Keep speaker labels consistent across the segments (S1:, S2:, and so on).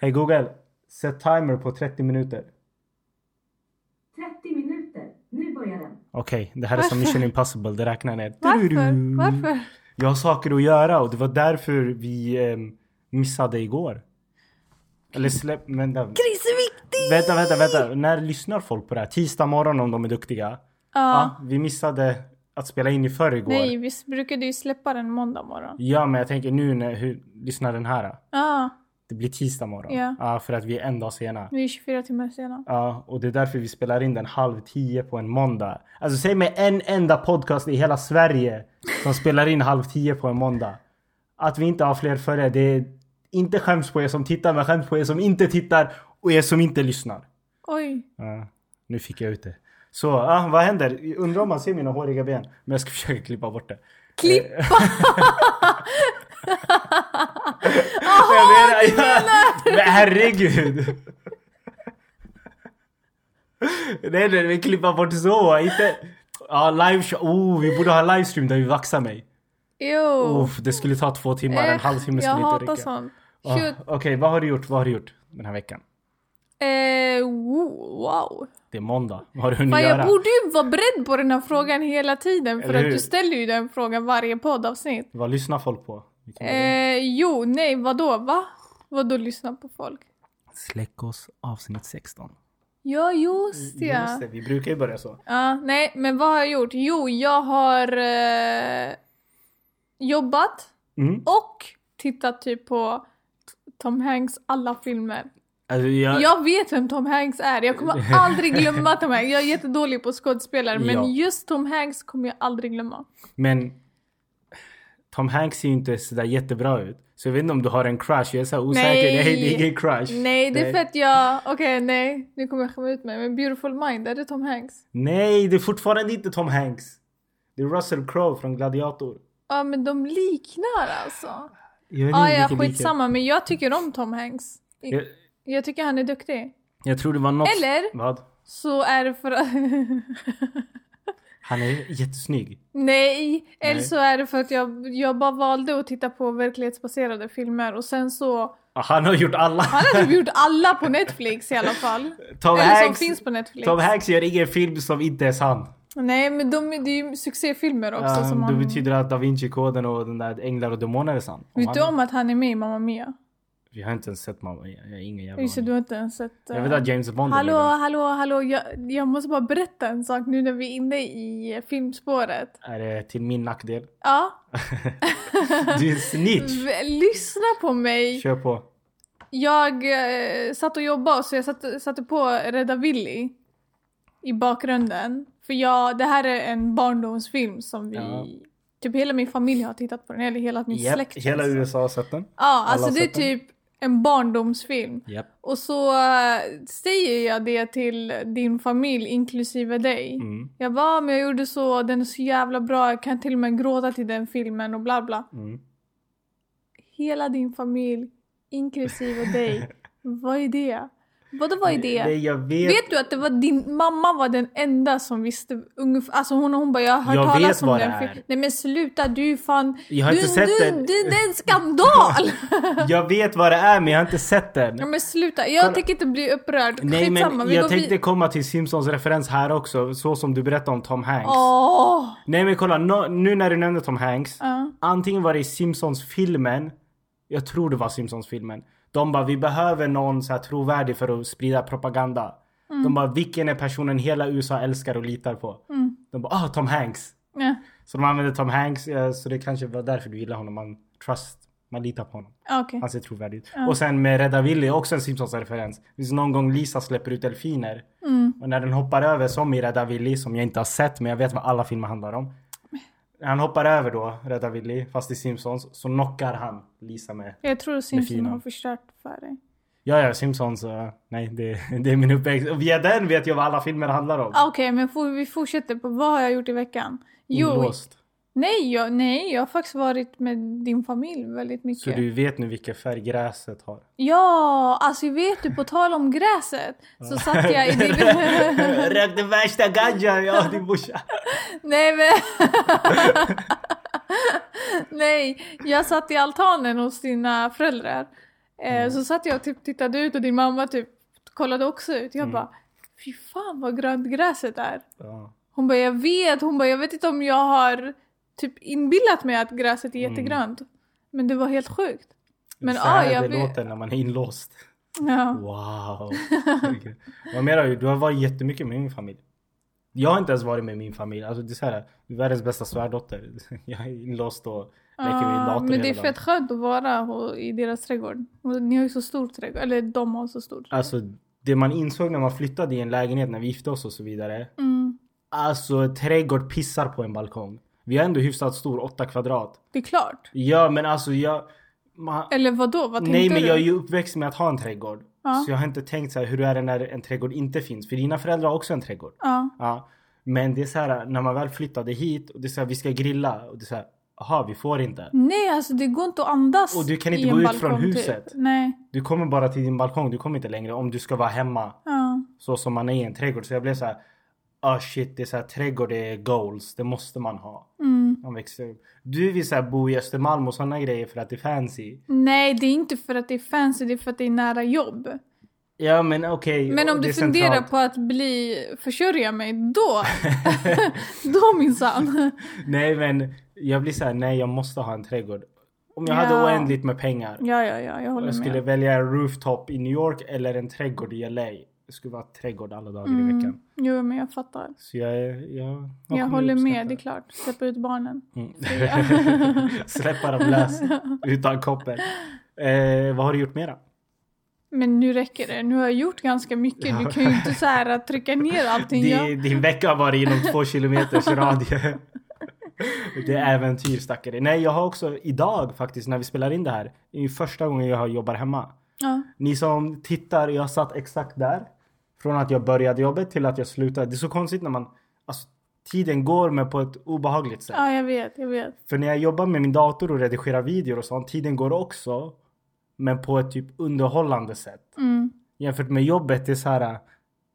S1: Hej Google, sätt timer på 30 minuter.
S2: 30 minuter. Nu börjar den.
S1: Okej, det här är som Mission Impossible, det räknar ner.
S3: Varför? Varför?
S1: Jag har saker att göra och det var därför vi ehm, missade igår. Eller släpp, vänta.
S3: Chris är viktig!
S1: Vänta, vänta, vänta. När lyssnar folk på det här? Tisdag morgon om de är duktiga.
S3: Ja.
S1: Ja, vi missade att spela in i förrgår.
S3: Nej, vi brukade ju släppa den måndag morgon.
S1: Ja, men jag tänker nu när, hur lyssnar den här?
S3: Ja,
S1: Det blir tisdag morgon.
S3: Ja.
S1: för att vi är en dag sena.
S3: vi är 24 timmar sena.
S1: Ja, och det är därför vi spelar in den halv tio på en måndag. Alltså säg mig en enda podcast i hela Sverige som spelar in halv tio på en måndag. Att vi inte har fler följare, det är inte skäms på er som tittar, men skäms på er som inte tittar och er som inte lyssnar.
S3: Oj.
S1: Ja, nu fick jag ut det. Så, ja, vad händer? Undrar om man ser mina håriga ben. Men jag ska försöka klippa bort det.
S3: Klippa!
S1: Jaha, du menar! Men herregud! nej, nej, vi klippa bort så. Inte... Ja, liveshow. Oh, vi borde ha livestream där vi vaxar mig.
S3: Jo.
S1: Uff, det skulle ta två timmar, en
S3: Oh. Eh,
S1: halvtimme
S3: jag
S1: skulle inte
S3: hatar
S1: räcka.
S3: sånt.
S1: Ah,
S3: Shoot.
S1: Okej, vad har du gjort? Vad har du gjort den här veckan?
S3: Eh, wo- wow.
S1: Det är måndag. Vad har du hunnit
S3: Fan,
S1: göra?
S3: jag borde ju vara beredd på den här frågan hela tiden för
S1: Eller
S3: att
S1: hur?
S3: du ställer ju den frågan varje poddavsnitt.
S1: Vad lyssnar folk på? Vi kan börja.
S3: Eh, jo, nej, vadå, va? Vadå lyssna på folk?
S1: Släckos avsnitt 16.
S3: Ja, just det.
S1: Just det, vi brukar ju börja så.
S3: Ja, nej, men vad har jag gjort? Jo, jag har eh, jobbat
S1: Mm.
S3: och tittat typ på T- Tom Hanks alla filmer.
S1: Alltså, jag...
S3: Jag vet vem Tom Hanks är, jag kommer aldrig glömma Tom Hanks. Jag är jättedålig på skådespelare men
S1: Ja.
S3: just Tom Hanks kommer jag aldrig glömma.
S1: Men Tom Hanks ser ju inte sådär jättebra ut. Så jag vet inte om du har en crush. Jag är såhär osäker. Nej,
S3: Nej.
S1: det är ingen crush.
S3: Nej, det är för att jag... Okej, nej, nu kommer jag skämma ut mig. Men Beautiful Mind, är det Tom Hanks?
S1: Nej, det är fortfarande inte Tom Hanks. Det är Russell Crowe från Gladiator.
S3: Ja, men de liknar alltså.
S1: Jag vet
S3: Ja, ja,
S1: vilken likhet.
S3: skitsamma, men jag tycker om Tom Hanks.
S1: Jag,
S3: Jag tycker han är duktig.
S1: jag tror det var något...
S3: Eller?
S1: Vad?
S3: Så är det för att...
S1: Han är jättesnygg.
S3: Nej! Eller så är det för att jag, jag bara valde att titta på verklighetsbaserade filmer och sen så...
S1: Ah, Han har gjort alla.
S3: Han har typ gjort alla på Netflix i alla fall.
S1: Tom
S3: Eller som
S1: Hanks,
S3: finns på Netflix.
S1: Tom Hanks gör ingen film som inte är sann.
S3: Nej men de, det är ju succéfilmer också
S1: Um,
S3: som
S1: Det
S3: han...
S1: betyder att Da Vinci-koden och den där Änglar och Demoner är sann.
S3: Vet
S1: han,
S3: du om att han är med i Mamma Mia?
S1: Vi har inte ens sett mamma. Jag, jag har ingen jävla
S3: Just det,
S1: aning.
S3: du har inte ens sett... eh,
S1: Jag vet att James Bond är
S3: Hallå,
S1: med i den.
S3: hallå, hallå. Jag, jag måste bara berätta en sak nu när vi är inne i filmspåret.
S1: Är det till min nackdel?
S3: Ja,
S1: Du är en snitch!
S3: v- lyssna på mig.
S1: Kör på.
S3: Jag eh, satt och jobbade så jag satte, satte på Rädda Willy i bakgrunden. För jag, det här är en barndomsfilm som vi...
S1: Ja.
S3: Typ hela min familj har tittat på den, eller hela min
S1: Japp,
S3: släkt.
S1: hela
S3: alltså.
S1: USA har sett den.
S3: Ja, alltså
S1: har
S3: det är
S1: sett den.
S3: typ en barndomsfilm.
S1: Japp.
S3: Och så eh, säger jag det till din familj, inklusive dig.
S1: Mm,
S3: Jag bara, "Ah, men jag gjorde så, den är så jävla bra, jag kan till och med gråta till den filmen och bla bla.
S1: mm.
S3: Hela din familj, inklusive dig, vad är det? Vadå vad är det?
S1: Nej, jag vet.
S3: Vet du att det var din mamma var den enda som visste ungefär, alltså hon, hon bara jag har hört
S1: Jag
S3: talas
S1: vet
S3: om
S1: vad
S3: den
S1: det är.
S3: filmen. Nej men sluta, du är fan,
S1: Jag har
S3: du,
S1: inte sett
S3: du,
S1: den.
S3: Du, det är en skandal!
S1: Jag vet vad det är men jag har inte sett
S3: ja,
S1: den.
S3: men sluta, jag
S1: Kolla.
S3: tänker inte bli upprörd.
S1: Nej
S3: Skitsamma,
S1: men
S3: vi
S1: jag
S3: går vid-
S1: tänkte komma till Simpsons referens här också. Så som du berättade om Tom Hanks.
S3: Åh!
S1: Nej men kolla nå- nu när du nämnde Tom Hanks.
S3: Ja.
S1: Antingen var det i Simpsons-filmen. Jag tror det var Simpsons-filmen. De bara vi behöver någon så här trovärdig för att sprida propaganda. De bara vilken är personen hela USA älskar och litar på? De bara ah Tom Hanks.
S3: Ja.
S1: Så de använde Tom Hanks, eh, så det kanske var därför du gillar honom. Man trust, man litar på honom.
S3: Okej.
S1: Han ser trovärdig ut. Och sen med Rädda Willy, också en Simpsons-referens. Visst någon gång Lisa släpper ut delfiner.
S3: Mm.
S1: Och när den hoppar över, som i Rädda Willy, som jag inte har sett, men jag vet vad alla filmer handlar om. När han hoppar över då, Rädda Willy, fast i Simpsons, så knockar han Lisa med.
S3: Jag tror Simpsons
S1: fina.
S3: har förstört för dig.
S1: Ja, ja, Simpsons, eh, nej, det, det är min uppväxt. Och via den vet jag vad alla filmer handlar om.
S3: Ah, Okej, men får, vi fortsätter på vad har jag gjort i veckan? Jo,
S1: Inlåst.
S3: nej, jag, nej, jag har faktiskt varit med din familj väldigt mycket.
S1: Så du vet nu vilken färg gräset har.
S3: Ja, alltså vet du, på tal om gräset så satt jag i din...
S1: Rök den värsta ganja, ja din morsa.
S3: nej men... nej, jag satt i altanen hos dina föräldrar. Eh,
S1: Mm.
S3: Så satt jag och typ tittade ut och din mamma typ kollade också ut.
S1: Mm.
S3: Jag bara, fy fan vad grönt gräset är.
S1: Ja.
S3: Hon bara, jag vet. Hon bara, jag vet inte om jag har typ inbillat mig att gräset
S1: Mm.
S3: är jättegrönt. Men det var helt sjukt. Men
S1: så
S3: ja,
S1: här
S3: jag
S1: det
S3: vet.
S1: låter när man är inlåst.
S3: Ja.
S1: Wow. Vad menar du? Du har varit jättemycket med min familj. Jag har inte ens varit med min familj. Alltså det är så här, du är världens bästa svärdotter. Jag är inlåst och leker med min
S3: Ja,
S1: dator
S3: Ah, men det är
S1: hela
S3: fett
S1: dagen.
S3: skönt att vara ho- i deras trädgård. Och Ni har ju så stor trädgård, eller de har så stor.
S1: Alltså det man insåg när man flyttade i en lägenhet när vi gifte oss och så vidare.
S3: Mm.
S1: Alltså trädgård pissar på en balkong. Vi har ändå hyfsat stor, 8 kvadrat.
S3: Det är klart.
S1: Ja men alltså jag... Man,
S3: Eller vad då? Vad
S1: Nej
S3: tänkte
S1: men
S3: du?
S1: jag är ju uppväxt med att ha en trädgård.
S3: Ja.
S1: Så jag har inte tänkt så här, hur är det när en trädgård inte finns? För dina föräldrar har också en trädgård.
S3: Ja.
S1: Ja. Men det är så här när man väl flyttade hit och det är så här, vi ska grilla och det är så här, aha vi får inte.
S3: Nej, alltså det går inte att andas
S1: Och du kan
S3: i
S1: inte
S3: en
S1: gå ut från
S3: balkong,
S1: huset.
S3: Typ. Nej.
S1: Du kommer bara till din balkong, du kommer inte längre om du ska vara hemma
S3: Ja.
S1: så som man är i en trädgård. Så jag blev så här, ah shit det är så här, trädgård är goals, det måste man ha.
S3: Mm.
S1: Man växer upp. Du vill så här, bo i Östermalm och sådana grejer för att det är fancy.
S3: Nej, det är inte för att det är fancy, det är för att det är nära jobb.
S1: Ja men okej.
S3: Men om
S1: det
S3: du
S1: är
S3: funderar
S1: centralt.
S3: på att bli, försörja mig, då, då minsann.
S1: Nej men jag blir så här, nej jag måste ha en trädgård. Om jag hade
S3: Ja.
S1: oändligt med pengar.
S3: Ja, ja, ja, jag håller
S1: Jag skulle
S3: med.
S1: välja en rooftop i New York eller en trädgård i LA. Det skulle vara trädgård alla dagar i veckan.
S3: Jo, men jag fattar.
S1: Så jag, jag, jag
S3: Mm. Jag
S1: kommer
S3: håller
S1: uppskatta
S3: med, det är klart. Släppa ut barnen.
S1: Mm. Släppa dem lös utan koppel. Eh, vad har du gjort mera?
S3: Men nu räcker det. Nu har jag gjort ganska mycket. Du kan ju inte så här trycka ner allting.
S1: Din,
S3: Jag...
S1: din vecka har varit inom två kilometers radie. Det är äventyr stackare. Nej jag har också idag faktiskt när vi spelar in det här. Det är ju första gången jag har- jobbar hemma.
S3: Ja.
S1: Ni som tittar, jag satt exakt där. Från att jag började jobbet till att jag slutade. Det är så konstigt när man... Alltså, tiden går men på ett obehagligt sätt.
S3: ja, jag vet, jag vet.
S1: För när jag jobbar med min dator och redigerar videor och sånt, tiden går också. Men på ett typ underhållande sätt.
S3: Mm,
S1: Jämfört med jobbet, det är så här...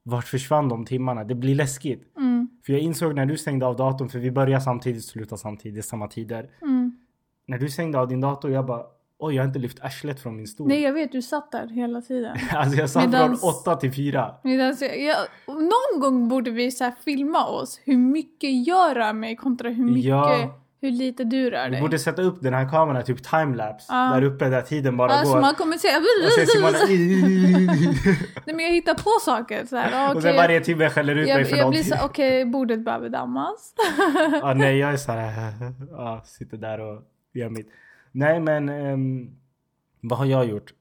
S1: Vart försvann de timmarna? Det blir läskigt.
S3: mm,
S1: För jag insåg när du stängde av datorn, för vi börjar samtidigt, slutar samtidigt, samma tider.
S3: mm.
S1: När du stängde av din dator, jag bara... Oj, jag har inte lyft arslet från min stol.
S3: Nej, jag vet. Du satt där hela tiden.
S1: Alltså jag satt
S3: Medans-
S1: från 8 till 4.
S3: Medan jag, jag, någon gång borde vi så här filma oss. Hur mycket jag rör mig kontra hur mycket,
S1: Ja.
S3: hur lite du rör
S1: Vi
S3: dig.
S1: borde sätta upp den här kameran, typ timelapse.
S3: Ja.
S1: Där uppe där tiden bara
S3: Alltså
S1: går.
S3: man kommer säga...
S1: Och sen Simona...
S3: Nej, men jag hittar på saker. Så här,
S1: och
S3: okej.
S1: sen varje timme skäller ut mig
S3: jag,
S1: för
S3: jag blir
S1: någonting.
S3: så här, okej, bordet behöver dammas.
S1: ja, nej, jag är så här... Ja, sitter där och gör mitt. Nej, men... ehm, vad har jag gjort?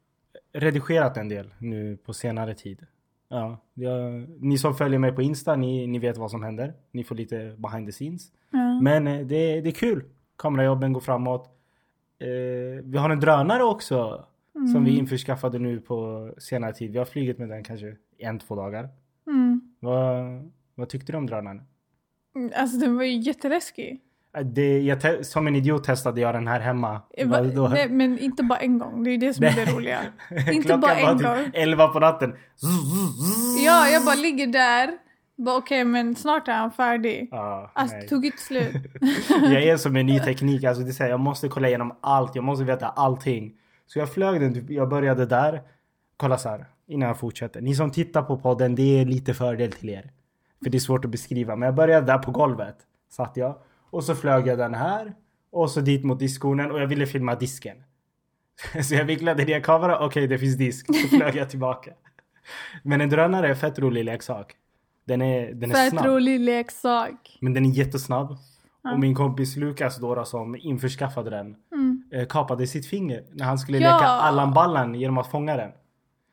S1: Redigerat en del nu på senare tid. Ja, jag, ni som följer mig på Insta, ni, ni vet vad som händer. Ni får lite behind the scenes.
S3: Ja.
S1: Men eh, det, det är kul. Kamerajobben går framåt. Eh, vi har en drönare också.
S3: Mm,
S1: Som vi införskaffade nu på senare tid. Vi har flugit med den kanske en, två dagar.
S3: Mm.
S1: Vad, vad tyckte du om drönaren?
S3: Mm, Alltså den var ju jätteläskig.
S1: Eh, Det, jag te- som en idiot testade jag den här hemma.
S3: Eh, Va-
S1: Vad då?
S3: Nej, men inte bara en gång, det är ju det som är det roliga. inte
S1: Klockan
S3: bara
S1: var
S3: en
S1: typ
S3: gång.
S1: 11 på natten. Zzz, zzz, zzz.
S3: Ja, jag bara ligger där. Bara okej, men snart är han färdig.
S1: Ah,
S3: Alltså det
S1: nej.
S3: tog inte slut.
S1: jag är som en ny teknik. Alltså det är så här, jag måste kolla igenom allt. Jag måste veta allting. Så jag flög den. typ- Jag började där. Kolla så här innan jag fortsätter. Ni som tittar på podden, det är lite fördel till er. För det är svårt att beskriva. Men jag började där på golvet. Satt jag. Och så flög jag den här. Och så dit mot diskkonen och jag ville filma disken. Så jag vicklade ner kameran. Okej, det finns disk. Så flög jag tillbaka. Men en drönare är en fett rolig leksak. Den är, den är
S3: Fett
S1: snabb.
S3: rolig leksak.
S1: Men den är jättesnabb. Och min kompis Lukas då, då som införskaffade den
S3: Mm.
S1: eh, kapade sitt finger när han skulle
S3: Ja.
S1: leka Allan Ballan genom att fånga den.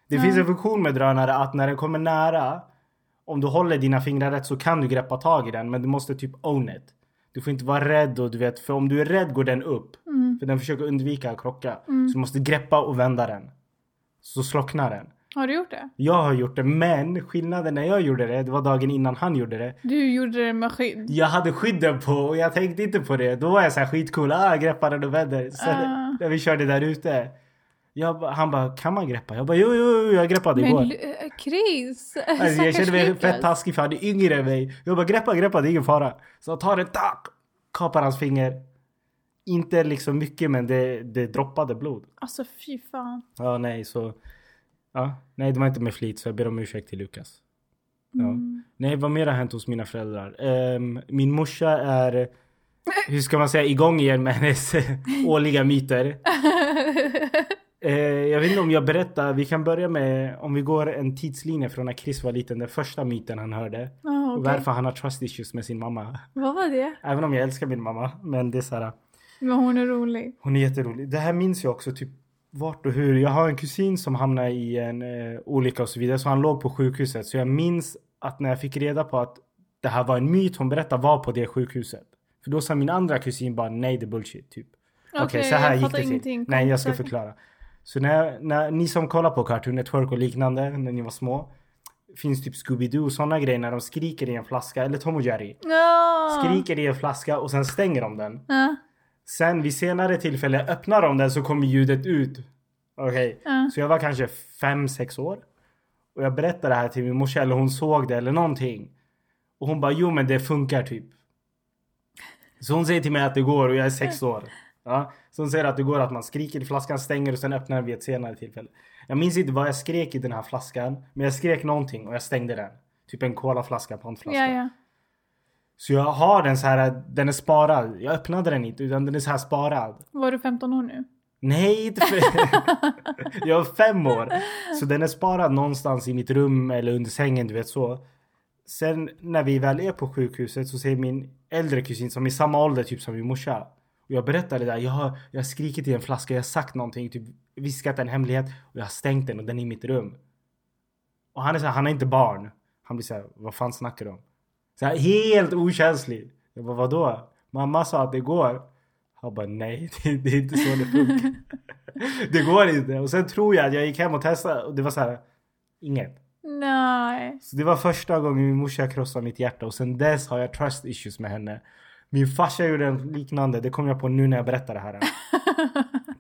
S1: Det finns en funktion med drönare att när den kommer nära om du håller dina fingrar rätt så kan du greppa tag i den men du måste typ own it. Du får inte vara rädd och du vet för om du är rädd går den upp. För den försöker undvika att krocka. Så du måste greppa och vända den. Så slocknar den.
S3: Har du gjort det?
S1: Jag har gjort det men skillnaden när jag gjorde det, det var dagen innan han gjorde det.
S3: Du gjorde det med skydd.
S1: Jag hade skydden på och jag tänkte inte på det. Då var jag så här skitcool. Ah, jag greppar den och vänder. Sen
S3: Ah.
S1: när vi körde där ute. Jag, ba- han bara, kan man greppa? Jag bara, jo, jo, jo jag greppade
S3: Men
S1: igår.
S3: Lu- Chris!
S1: Alltså, jag
S3: stackars
S1: kände mig
S3: Lukas.
S1: fett taskig för han är yngre än mig. Jag bara, greppa, greppa, det är ingen fara. Så jag tar den, tack! Kapar hans finger. Inte liksom mycket men det, det droppade blod.
S3: Alltså fy fan.
S1: Ja, nej så. Ja, nej det var inte med flit så jag ber om ursäkt till Lukas. Ja.
S3: Mm.
S1: Nej, vad mer har hänt hos mina föräldrar? Ehm, min morsa är, hur ska man säga, igång igen med hennes årliga myter. Eh, jag vet inte om jag berättar, vi kan börja med om vi går en tidslinje från när Chris var liten, den första myten han hörde.
S3: Ja,
S1: Och
S3: okej.
S1: varför han har trust issues med sin mamma.
S3: Vad var det?
S1: Även om jag älskar min mamma, men det är så här.
S3: Men hon är rolig.
S1: Hon är jätterolig. Det här minns jag också typ vart och hur. Jag har en kusin som hamnade i en eh, olycka och så vidare. Så han låg på sjukhuset. Så jag minns att när jag fick reda på att det här var en myt hon berättade var på det sjukhuset. För då sa min andra kusin bara nej det är bullshit typ. Okej så här
S3: jag
S1: gick
S3: fattar
S1: det till.
S3: ingenting.
S1: Nej
S3: Kom,
S1: jag ska
S3: säkert.
S1: förklara. Så när, när ni som kollar på Cartoon Network och liknande när ni var små. Finns typ Scooby-Doo och sådana grejer när de skriker i en flaska. Eller Tom och Jerry.
S3: Ja.
S1: Skriker i en flaska och sen stänger de den.
S3: Ja.
S1: Sen vid senare tillfälle öppnar de den så kommer ljudet ut. Okej.
S3: Ja.
S1: Så jag var kanske fem sex år. Och jag berättade det här till min morsa eller hon såg det eller någonting. Och hon bara jo men det funkar typ. Så hon säger till mig att det går och jag är sex år. Ja. Så hon säger att det går att man skriker i flaskan, stänger och sen öppnar den vid ett senare tillfälle. Jag minns inte vad jag skrek i den här flaskan. Men jag skrek någonting och jag stängde den. Typ en colaflaska, pantflaska.
S3: Ja, ja.
S1: Så jag har den så här, den är sparad. Jag öppnade den inte utan den är så här sparad.
S3: Var du 15 år nu?
S1: Nej, inte för... jag var fem år. Så den är sparad någonstans i mitt rum eller under sängen, du vet så. Sen när vi väl är på sjukhuset så säger min äldre kusin som är i samma ålder typ som min morsa. Och jag berättar det där. Jag har, jag har skrikit i en flaska, jag har sagt någonting, typ viskat en hemlighet och jag har stängt den och den är i mitt rum. Och han är så här, han är inte barn. Han blir så här, vad fan snackar du om? Så här, helt okänslig. Jag bara, vadå? Mamma sa att det går. Han bara, nej, det, det är inte så det funkar. det går inte. Och sen tror jag att jag gick hem och testade och det var så här, inget.
S3: Nej.
S1: Så det var första gången min morsa krossade mitt hjärta och sen dess har jag trust issues med henne. Min farsa gjorde en liknande, det kom jag på nu när jag berättar det här.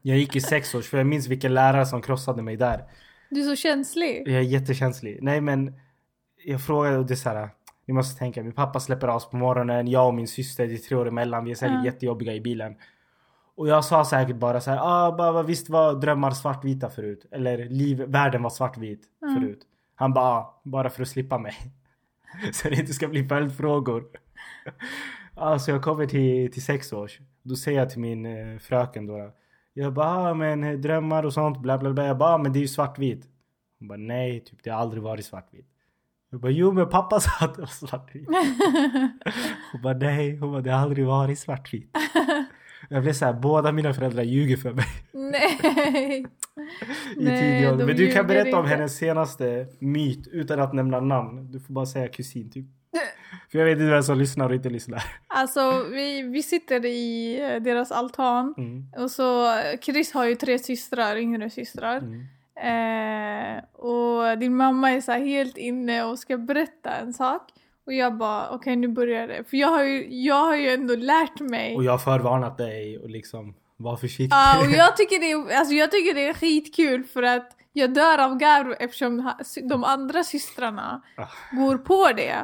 S1: Jag gick i sexårs för jag minns vilken lärare som krossade mig där.
S3: Du är så känslig.
S1: Jag är jättekänslig. Nej men jag frågade och det är så här. Ni måste tänka, min pappa släpper av oss på morgonen. Jag och min syster, det är tre år emellan. Vi är säkert
S3: Ja.
S1: jättejobbiga i bilen. Och jag sa säkert bara så här, ah, bara, bara, visst var drömmar svartvita förut? Eller liv, världen var svartvit
S3: Ja.
S1: förut. Han bara, ah, bara för att slippa mig. så det inte ska bli följdfrågor. alltså jag kommer till, till sex års. Då säger jag till min eh, fröken då. Jag bara, ah, men eh, drömmar och sånt bla bla bla. Jag bara, ah, men det är ju svartvitt. Hon bara, nej, typ det har aldrig varit svartvitt. Jag bara, jo men pappa sa att det var svartvitt. Hon bara, nej, hon bara, det har aldrig varit svartvitt. Jag blev så här, båda mina föräldrar ljuger för mig
S3: Nej.
S1: i
S3: Nej,
S1: tidig ålder.
S3: de
S1: Men du
S3: ljuger
S1: kan berätta om
S3: inte.
S1: hennes senaste myt utan att nämna namn. Du får bara säga kusin typ. För jag vet inte vem som lyssnar och inte lyssnar.
S3: Alltså vi, vi sitter i eh, deras altan.
S1: Mm.
S3: Och så eh, Chris har ju tre systrar, yngre systrar.
S1: Mm.
S3: Eh, och din mamma är så här helt inne och ska berätta en sak. Och jag bara okej nu börjar det. För jag har ju, jag har ju ändå lärt mig.
S1: Och jag har förvarnat dig och liksom, var försiktig.
S3: Ja, och jag tycker, det är, alltså jag tycker det är skitkul för att jag dör av garv eftersom ha- sy- de andra systrarna
S1: Ah.
S3: går på det.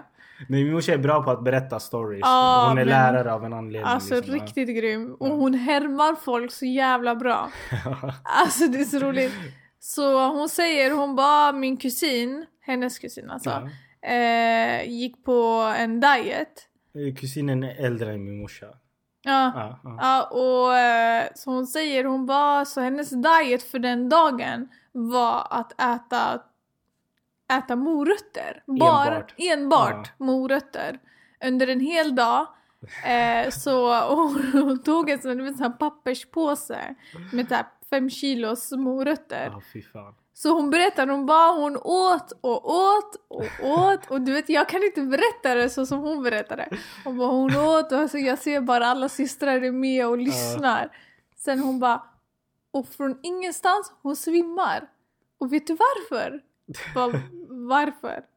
S1: Men min morsa är bra på att berätta stories.
S3: Ja,
S1: hon är
S3: men-
S1: lärare av en anledning.
S3: Alltså
S1: liksom. Ja.
S3: riktigt grym. Och hon härmar folk så jävla bra. Alltså det är så roligt. Så hon säger, hon bara "Ah, min kusin, hennes kusin alltså,
S1: Ja.
S3: eh, gick på en diet.
S1: Eh, Kusinen är äldre än min morsa.
S3: Ja.
S1: Ja, ja.
S3: Ja, och eh, så hon säger, hon bara, så hennes diet för den dagen var att äta, äta morötter. Bara,
S1: Enbart.
S3: enbart morötter. Under en hel dag. Eh, så och hon, hon tog en sån, du vet, sån här papperspåse med typ fem kilos morötter.
S1: Ja, fy fan.
S3: Så hon berättar, hon bara hon åt och åt och åt och du vet jag kan inte berätta det så som hon berättade. Hon bara hon åt och alltså, jag ser bara alla systrar är med och lyssnar. Sen hon bara och från ingenstans hon svimmar. Och vet du varför? Jag Bara, varför?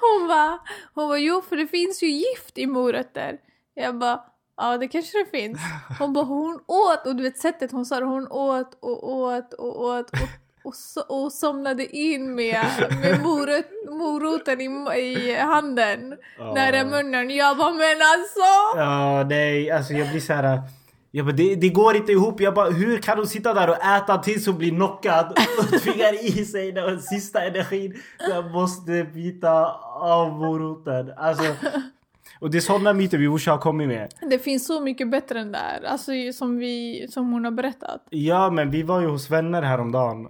S3: Hon bara, hon bara jo för det finns ju gift i morötter. Jag bara ja det kanske det finns. Hon bara hon åt och du vet sättet hon sa det, hon åt och åt och åt och, och, so- och somnade in med, med moröt, moroten i, i handen.
S1: Ja.
S3: Nära munnen. Jag bara men alltså!
S1: Ja, nej, alltså jag blir så här. Jag bara, det, det går inte ihop. Jag bara, hur kan hon sitta där och äta tills hon blir knockad och tvingar i sig den sista energin? Jag måste bita av moroten. Alltså, och det är sådana myter min brorsa har kommit med.
S3: Det finns så mycket bättre än det här. Alltså som, vi, som hon har berättat.
S1: Ja, men vi var ju hos vänner häromdagen.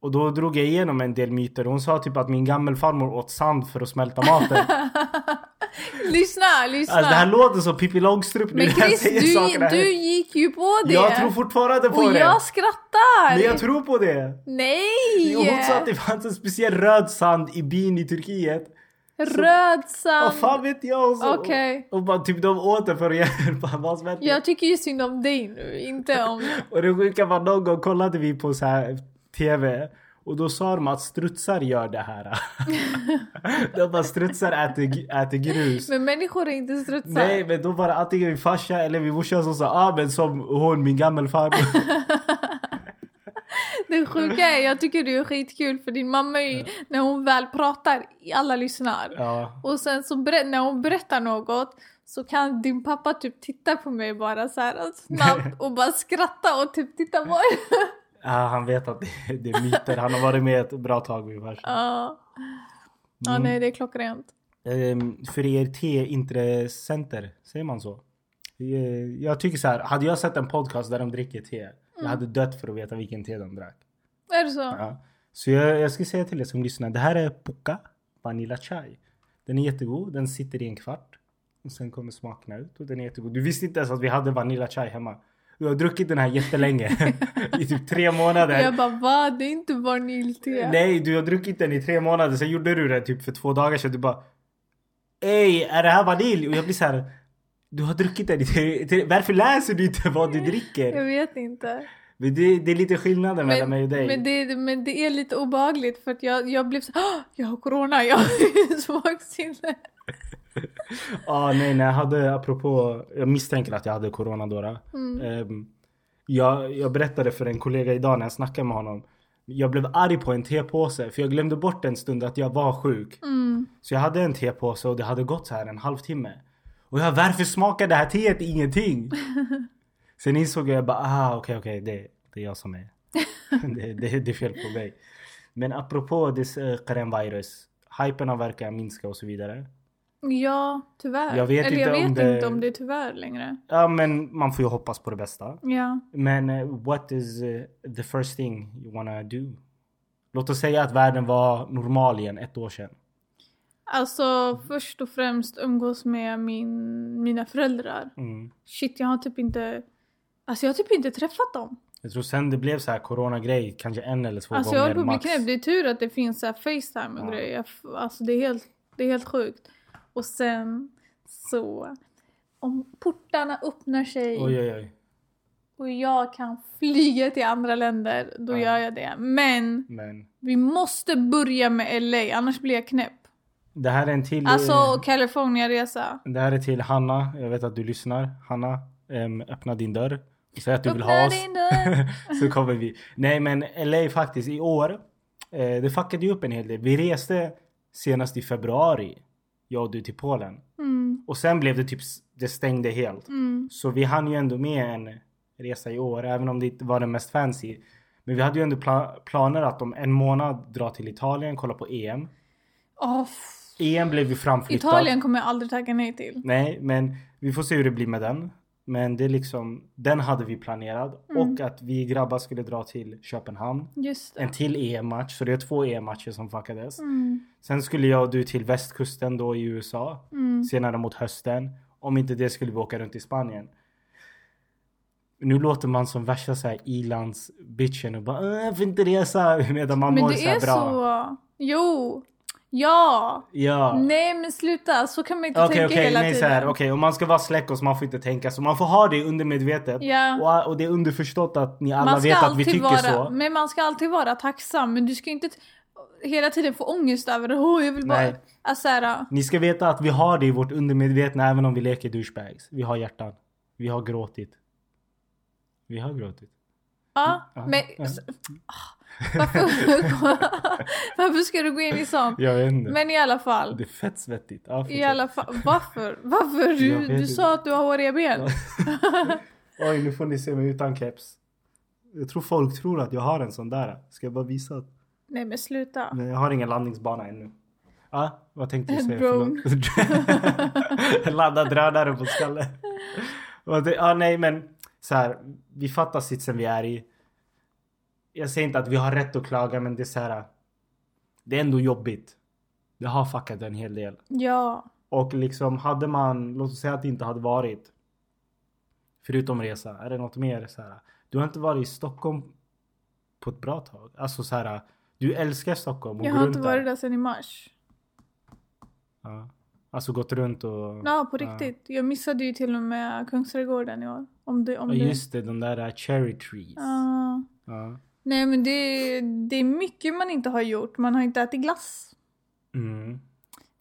S1: Och då drog jag igenom en del myter. Hon sa typ att min gammelfarmor åt sand för att smälta maten.
S3: Lyssna, lyssna!
S1: Alltså det här låter som Pippi Långstrump nu
S3: men
S1: när jag
S3: Chris,
S1: säger saker
S3: du,
S1: här.
S3: du gick ju på det!
S1: Jag tror fortfarande på
S3: Och
S1: det.
S3: jag skrattar!
S1: Men jag tror på det.
S3: Nej!
S1: Jo, hon sa att det fanns en speciell röd sand i bin i Turkiet.
S3: Röd
S1: Vad
S3: sand.
S1: fan vet jag? Och, så,
S3: Okej.
S1: och, och bara typ de åt det för att hjälpa vad som hände.
S3: Jag tycker ju synd om dig nu, inte om...
S1: Och det sjuka var någon gång kollade vi på så här TV och då sa de att strutsar gör det här. de bara strutsar äter, äter grus.
S3: Men människor är inte strutsar.
S1: Nej men då var det antingen min farsa eller min morsa som sa ah men som hon min gammelfarmor.
S3: Det sjuka är, jag tycker det är skitkul för din mamma är ju, när hon väl pratar, alla lyssnar.
S1: ja.
S3: Och sen så ber- när hon berättar något så kan din pappa typ titta på mig bara så här snabbt och bara skratta och typ titta på mig.
S1: ja han vet att det, det är myter. Han har varit med ett bra tag min farsa.
S3: Ja, Ja,
S1: Mm.
S3: nej det är klockrent.
S1: Ehm, för er teintressenter, säger man så? Eh, Jag tycker så här, hade jag sett en podcast där de dricker te,
S3: Mm.
S1: jag hade dött för att veta vilken te de drack.
S3: Är det så?
S1: Ja. Så jag, jag ska säga till er som lyssnar, det här är Pukka Vanilla Chai. Den är jättegod, den sitter i en kvart. Och sen kommer smakerna ut och den är jättegod. Du visste inte ens att vi hade Vanilla Chai hemma. Du har druckit den här jättelänge. I typ tre månader.
S3: Jag bara va? Det är inte vaniljte.
S1: Nej, du har druckit den i tre månader. Sen gjorde du det typ för två dagar sedan. Du bara... Ey, är det här vanilj? Och jag blir så här... Du har druckit den i tre, tre, Varför läser du inte vad du
S3: Jag
S1: dricker?
S3: vet inte.
S1: Men det, det är lite skillnaden mellan mig och dig.
S3: men, det, men det är lite obehagligt för att jag, jag blev så "Åh, jag har corona, jag har smaksinne.
S1: ah, nej, nej, jag hade apropå... Jag misstänker att jag hade corona då. då. Ehm, jag, jag berättade för en kollega idag när jag snackade med honom. Jag blev arg på en tepåse för jag glömde bort en stund att jag var sjuk.
S3: Mm.
S1: Så jag hade en tepåse och det hade gått så här en halvtimme. Och jag varför smakar det här teet ingenting? Sen insåg jag bara ah okej okej det, det är jag som är. det, det, det är fel på mig. Men apropå det eh, coronavirus. Hypen har verkar minska och så vidare.
S3: Ja, tyvärr.
S1: Jag vet
S3: Eller
S1: inte
S3: jag vet
S1: om det-
S3: inte om det är tyvärr längre.
S1: Ja men man får ju hoppas på det bästa.
S3: Ja.
S1: Men eh, what is eh, the first thing you wanna do? Låt oss säga att världen var normal igen ett år sedan.
S3: Alltså först och främst umgås med min, mina föräldrar.
S1: Mm.
S3: Shit, jag har typ inte... Alltså jag har typ inte träffat dem.
S1: Jag tror sen det blev så här coronagrej kanske en eller två
S3: Alltså jag
S1: gånger
S3: håller på att bli
S1: max.
S3: knäpp. Det är tur att det finns så här Facetime och
S1: Ja.
S3: grejer. Jag f- Alltså det är, helt, det är helt sjukt. Och sen så... Om portarna öppnar sig
S1: Oj oj oj.
S3: och jag kan flyga till andra länder, då
S1: Ja.
S3: gör jag det. Men
S1: Men
S3: vi måste börja med LA, annars blir jag knäpp.
S1: det här är en till. eh,
S3: Alltså Kalifornienresa.
S1: Det här är till Hanna. Jag vet att du lyssnar. Hanna, um, öppna din dörr. Säg att du vill
S3: Öppna
S1: ha oss.
S3: din dörr.
S1: Så kommer vi. Nej men LA faktiskt i år. eh, det fuckade ju upp en hel del. Vi reste senast i februari. Jag och du till Polen.
S3: Mm,
S1: Och sen blev det typ, s- det stängde helt.
S3: mm,
S1: Så vi hann ju ändå med en resa i år, även om det inte var den mest fancy. Men vi hade ju ändå pla- planer att om en månad dra till Italien, kolla på E EM.
S3: Åh, f-
S1: EM blev ju framflyttat.
S3: Italien kommer jag aldrig tacka nej till.
S1: Nej, men vi får se hur det blir med den. Men det är liksom, den hade vi planerad.
S3: Mm.
S1: Och att vi grabbar skulle dra till Köpenhamn.
S3: Just det.
S1: En till EM-match, så det är två EM-matcher som fuckades.
S3: Mm,
S1: Sen skulle jag och du till västkusten då i USA.
S3: mm.
S1: Senare mot hösten. Om inte det skulle vi åka runt i Spanien. Nu låter man som värsta så här ilandsbitchen och bara "Äh, jag får inte resa medan man
S3: Men
S1: mår
S3: det
S1: så här
S3: är
S1: bra.
S3: så. Jo. Ja.
S1: Ja.
S3: Nej men sluta, så kan man inte
S1: Okej
S3: tänka
S1: okej,
S3: hela
S1: nej
S3: tiden.
S1: såhär, okej om man ska vara släckos man får inte tänka så. Man får ha det undermedvetet.
S3: Ja.
S1: Och, och det är underförstått att ni alla
S3: man ska
S1: vet att vi
S3: alltid
S1: tycker
S3: vara,
S1: så.
S3: Men man ska alltid vara tacksam. Men du ska inte t- hela tiden få ångest över det. Åh, jag vill bara...
S1: Nej.
S3: Alltså, så här,
S1: Ni ska veta att vi har det i vårt undermedvetna även om vi leker douchebags. Vi har hjärtan. Vi har gråtit. Vi har gråtit.
S3: ja,
S1: Mm, Ja,
S3: men...
S1: ja.
S3: Varför? Varför ska du gå in i sånt?
S1: Jag vet inte.
S3: Men i alla fall.
S1: Det är fett svettigt. Ja,
S3: I
S1: fortsätt.
S3: alla fall. Varför? Varför?
S1: Jag
S3: Du,
S1: vet
S3: du
S1: inte.
S3: sa att du har håriga ben.
S1: Oj, nu får ni se mig utan keps. Jag tror folk tror att jag har en sån där. Ska jag bara visa? Att...
S3: Nej men sluta.
S1: Nej, jag har ingen landningsbana ännu. Ja, ah, vad tänkte du
S3: En
S1: säga?
S3: drone.
S1: Förlåt. Ladda drönare på skallen. Ja, ah, nej, men så här. Vi fattar sitsen vi är i. Jag säger inte att vi har rätt att klaga, men det är så här. Det är ändå jobbigt. Det har fuckat en hel del.
S3: Ja.
S1: Och liksom hade man, låt oss säga att det inte hade varit. Förutom resa, är det något mer så här? Du har inte varit i Stockholm på ett bra tag. Alltså så här, du älskar Stockholm och
S3: Jag
S1: går
S3: har inte
S1: runt
S3: varit där sedan i mars.
S1: Ja. Alltså gått runt och...
S3: Ja på riktigt. Jag missade ju till och med Kungsträdgården i år. Om du, om
S1: Ja,
S3: du.
S1: just det, de där cherry trees.
S3: Ja.
S1: Ja.
S3: Nej men det, det är mycket man inte har gjort. Man har inte ätit glass.
S1: Mm.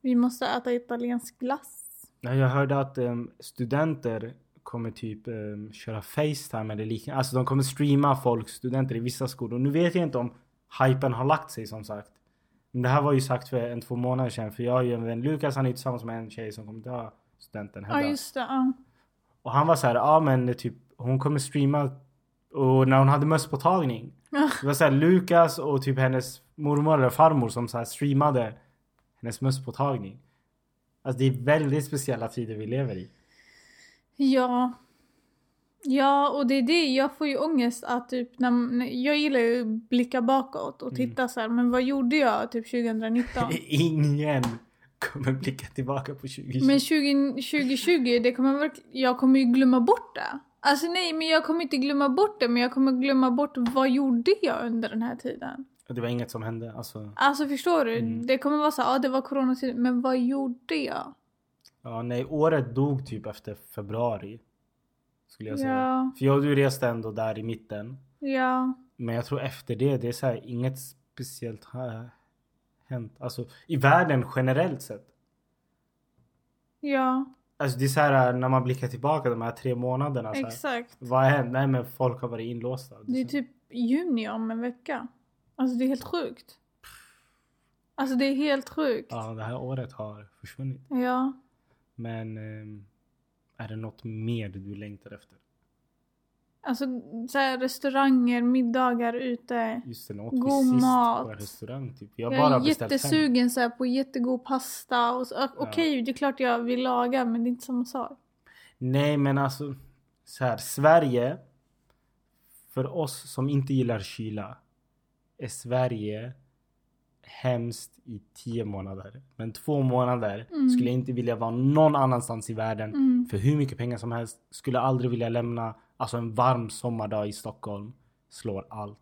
S3: Vi måste äta italiensk glass.
S1: Ja, Jag hörde att em, studenter kommer typ um, köra Facetime eller liknande. Alltså de kommer streama folk, studenter i vissa skolor. Nu vet jag inte om hypen har lagt sig som sagt. Men det här var ju sagt för en två månader sedan. För jag har ju en vän, Lukas, han är ju tillsammans med en tjej som kommer ta studenten.
S3: Ja
S1: Hedda.
S3: just det. Ja.
S1: Och han var så här, ja ah, men typ hon kommer streama och när hon hade mösspåtagning.
S3: Ja.
S1: Det var så här Lukas och typ hennes mormor eller farmor som så här streamade hennes mösspåtagning. Alltså det är väldigt speciella tider vi lever i.
S3: Ja. Ja, och det är det. Jag får ju ångest att typ när, när, jag gillar ju att blicka bakåt och titta så här, men vad gjorde jag typ 2019?
S1: Ingen kommer blicka tillbaka på 2020.
S3: men 20, 2020, det kommer verk- jag kommer ju glömma bort det. Alltså nej, men jag kommer inte glömma bort det, men jag kommer glömma bort vad gjorde jag under den här tiden?
S1: Det var inget som hände. Alltså,
S3: Alltså förstår du?
S1: Mm.
S3: Det kommer vara så här, ja det var coronatiden, men vad gjorde jag?
S1: ja, nej, året dog typ efter februari. Skulle jag säga.
S3: Ja.
S1: För jag och du reste ändå där i mitten.
S3: Ja,
S1: Men jag tror efter det, det är så här, inget speciellt har hänt. Alltså i världen generellt sett.
S3: ja,
S1: Alltså det är så här när man blickar tillbaka de här tre månaderna. Så här, Mm,
S3: exakt.
S1: vad har hänt? Nej men folk har varit inlåsta.
S3: Det är typ juni om en vecka. Alltså det är helt sjukt. Alltså det är helt sjukt.
S1: Ja, det här året har försvunnit.
S3: Ja.
S1: Men ehm, är det något mer du längtar efter?
S3: Alltså så här, restauranger, middagar ute.
S1: Just det, nu åt
S3: God
S1: vi sist på
S3: mat.
S1: en restaurang typ. Jag
S3: Jag,
S1: har bara
S3: är
S1: beställt hem.
S3: jättesugen så här, på jättegod pasta. Och så, ö- Okej, det är klart jag vill laga men det är inte samma sak.
S1: Nej men alltså så här, Sverige för oss som inte gillar kyla är Sverige hemskt i tio månader. Men två månader
S3: Mm.
S1: skulle jag inte vilja vara någon annanstans i världen
S3: Mm.
S1: för hur mycket pengar som helst. Skulle aldrig vilja lämna. Alltså en varm sommardag i Stockholm slår allt.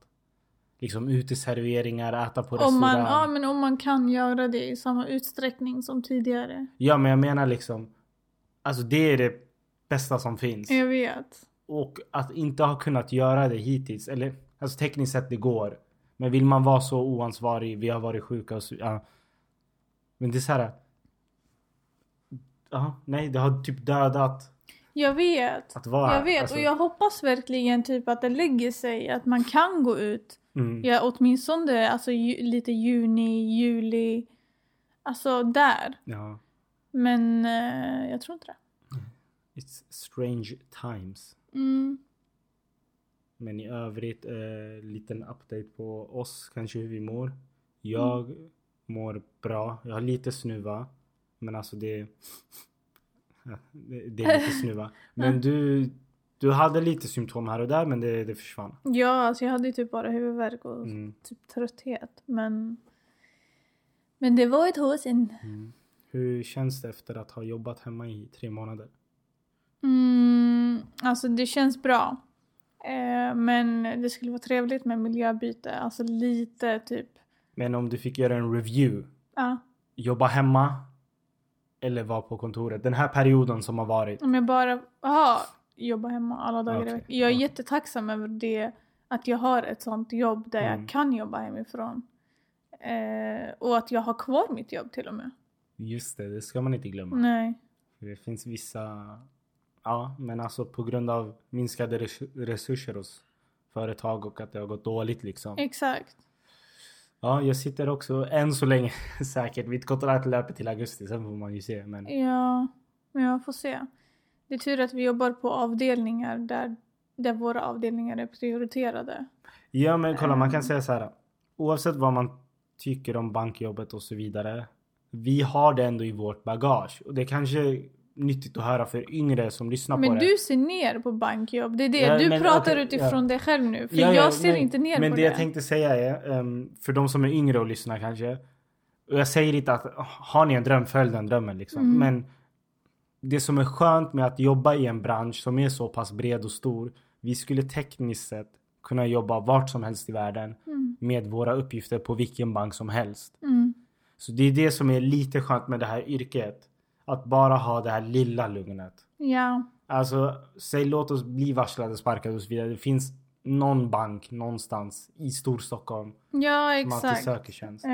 S1: Liksom uteserveringar, äta på
S3: Om man,
S1: restaurang.
S3: ja, men om man kan göra det i samma utsträckning som tidigare.
S1: Ja men jag menar liksom Alltså det är det bästa som finns.
S3: Jag vet.
S1: Och att inte ha kunnat göra det hittills. Eller alltså tekniskt sett det går. Men vill man vara så oansvarig. Vi har varit sjuka och så, ja. Men det är så här. Ja, nej det har typ dödat
S3: Jag vet.
S1: att vara
S3: Jag
S1: här.
S3: vet
S1: Alltså,
S3: och jag hoppas verkligen typ att det lägger sig. Att man kan gå ut.
S1: mm,
S3: Ja, åtminstone alltså, ju, lite juni, juli. Alltså där.
S1: ja.
S3: Men eh, jag tror inte det.
S1: It's strange times.
S3: Mm.
S1: Men i övrigt, eh, liten update på oss, kanske hur vi mår. Jag mår bra. Jag har lite snuva. Men alltså det... Ja, det det är lite snuva. Men du, du hade lite symptom här och där men det, det försvann.
S3: Ja, alltså jag hade ju typ bara huvudvärk och
S1: Mm.
S3: typ trötthet. Men, men det var ett håsin.
S1: Mm. Hur känns det efter att ha jobbat hemma i tre månader?
S3: Mm, alltså det känns bra. Eh, men det skulle vara trevligt med miljöbyte. Alltså lite typ.
S1: Men om du fick göra en review.
S3: Ja,
S1: Jobba hemma eller vara på kontoret. Den här perioden som har varit.
S3: om jag bara aha, jobba hemma alla dagar i
S1: Okej,
S3: veckan. Jag är
S1: ja.
S3: jättetacksam över det. Att jag har ett sånt jobb där
S1: Mm.
S3: jag kan jobba hemifrån. Eh, och att jag har kvar mitt jobb till och med.
S1: Just det, det ska man inte glömma.
S3: Nej.
S1: Det finns vissa... Ja, men alltså på grund av minskade res- resurser hos företag och att det har gått dåligt liksom.
S3: Exakt.
S1: Ja, jag sitter också än så länge säkert. Mitt kontrakt löper till augusti, sen får man ju se. Men
S3: Mm. Ja, men jag får se. Det är tur att vi jobbar på avdelningar där, där våra avdelningar är prioriterade.
S1: Ja men kolla
S3: Mm.
S1: man kan säga så här. Oavsett vad man tycker om bankjobbet och så vidare. Vi har det ändå i vårt bagage. Och det är kanske är nyttigt att höra för yngre som lyssnar på
S3: Men
S1: det.
S3: du ser ner på bankjobb. Det är det.
S1: Ja,
S3: du
S1: men
S3: pratar
S1: okej,
S3: utifrån
S1: ja.
S3: dig själv nu. För
S1: Ja, ja,
S3: jag ser
S1: men-
S3: inte ner
S1: Men
S3: på
S1: det
S3: det.
S1: jag tänkte säga är, ehm, för de som är yngre och lyssnar kanske. Och jag säger inte att "Ah, har ni en dröm, följ den drömmen liksom.
S3: Mm.
S1: Men det som är skönt med att jobba i en bransch som är så pass bred och stor. Vi skulle tekniskt sett kunna jobba vart som helst i världen
S3: Mm,
S1: med våra uppgifter på vilken bank som helst.
S3: mm,
S1: Så det är det som är lite skönt med det här yrket. Att bara ha det här lilla lugnet.
S3: ja.
S1: Alltså, säg låt oss bli varslade, sparkade och så vidare. Det finns någon bank någonstans i Storstockholm
S3: ja,
S1: som alltid
S3: exakt.
S1: söker tjänst.
S3: Eh,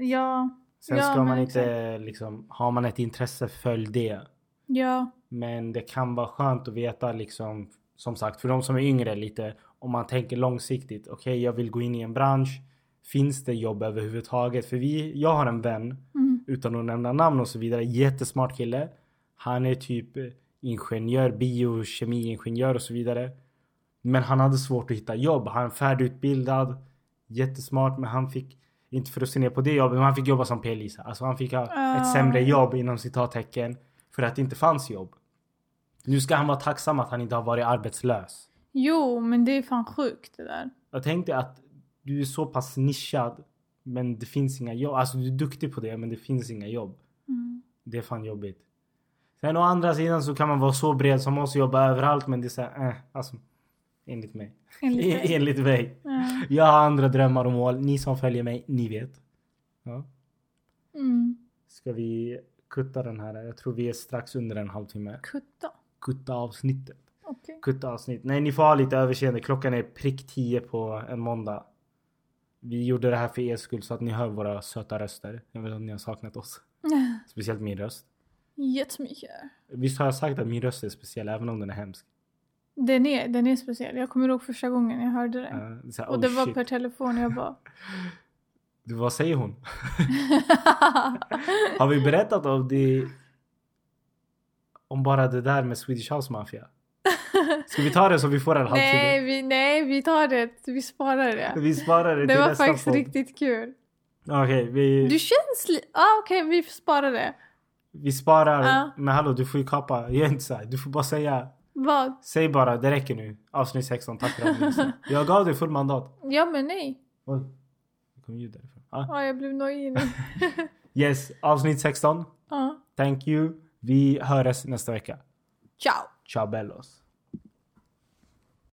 S3: ja,
S1: Sen
S3: ja,
S1: ska
S3: men
S1: man inte liksom, har man ett intresse följ det.
S3: ja.
S1: Men det kan vara skönt att veta liksom, som sagt, för de som är yngre lite, om man tänker långsiktigt. Okej, jag vill gå in i en bransch. Finns det jobb överhuvudtaget? För vi, jag har en vän
S3: Mm,
S1: utan att nämna namn och så vidare. Jättesmart kille. Han är typ ingenjör, biokemiingenjör och så vidare. Men han hade svårt att hitta jobb. Han är färdigutbildad, jättesmart, men han fick inte för att se ner på det jobbet, men han fick jobba som P-Lisa. Alltså han fick ha
S3: Ah.
S1: ett sämre jobb inom citattecken för att det inte fanns jobb. Nu ska han vara tacksam att han inte har varit arbetslös.
S3: jo, men det är fan sjukt det där.
S1: Jag tänkte att du är så pass nischad men det finns inga jobb. Alltså du är duktig på det men det finns inga jobb.
S3: Mm.
S1: Det är fan jobbigt. Sen å andra sidan så kan man vara så bred som oss och jobba överallt men det är såhär, eh, alltså. Enligt mig. E-
S3: Enligt mig.
S1: enligt mig.
S3: Ja.
S1: Jag har andra drömmar och mål. Ni som följer mig, ni vet. Ja.
S3: Mm.
S1: Ska vi kutta den här? Jag tror vi är strax under en halvtimme.
S3: Kutta.
S1: Kutta avsnittet.
S3: Okej.
S1: Kutta avsnitt. Nej, ni får ha lite överseende. Klockan är prick 10 på en måndag. Vi gjorde det här för er skull så att ni hör våra söta röster. Jag vet att ni har saknat oss. Speciellt min röst.
S3: Jättemycket.
S1: Visst har jag sagt att min röst är speciell även om den är hemsk?
S3: Den är, den är speciell. Jag kommer ihåg första gången jag hörde den.
S1: Eh, det är så här,
S3: Och
S1: oh,
S3: det var
S1: shit.
S3: per telefon. Jag bara...
S1: Du, Vad säger hon? Har vi berättat om det? Om bara det där med Swedish House Mafia? Ska vi ta det så vi får en
S3: nej,
S1: halvtimme?
S3: vi, nej, vi tar det. Vi sparar det.
S1: Vi sparar det,
S3: Det
S1: till
S3: var
S1: nästa
S3: faktiskt
S1: podd.
S3: riktigt kul.
S1: Okej, vi...
S3: Du känns lite... Ah, Okej, vi sparar det.
S1: Vi sparar.
S3: Ja.
S1: Men hallå, du får ju kapa. Gör inte så här. Du får bara säga.
S3: Vad?
S1: Säg bara, det räcker nu. Avsnitt 16, tack för att ni lyssnade. Jag gav dig full mandat.
S3: Ja, men nej.
S1: Oj. Det kom ljud därifrån. Ah.
S3: Ja, jag blev nojig nu.
S1: Yes, avsnitt 16.
S3: Ja.
S1: Thank you. Vi hörs nästa vecka.
S3: Ciao!
S1: Ciao bellos.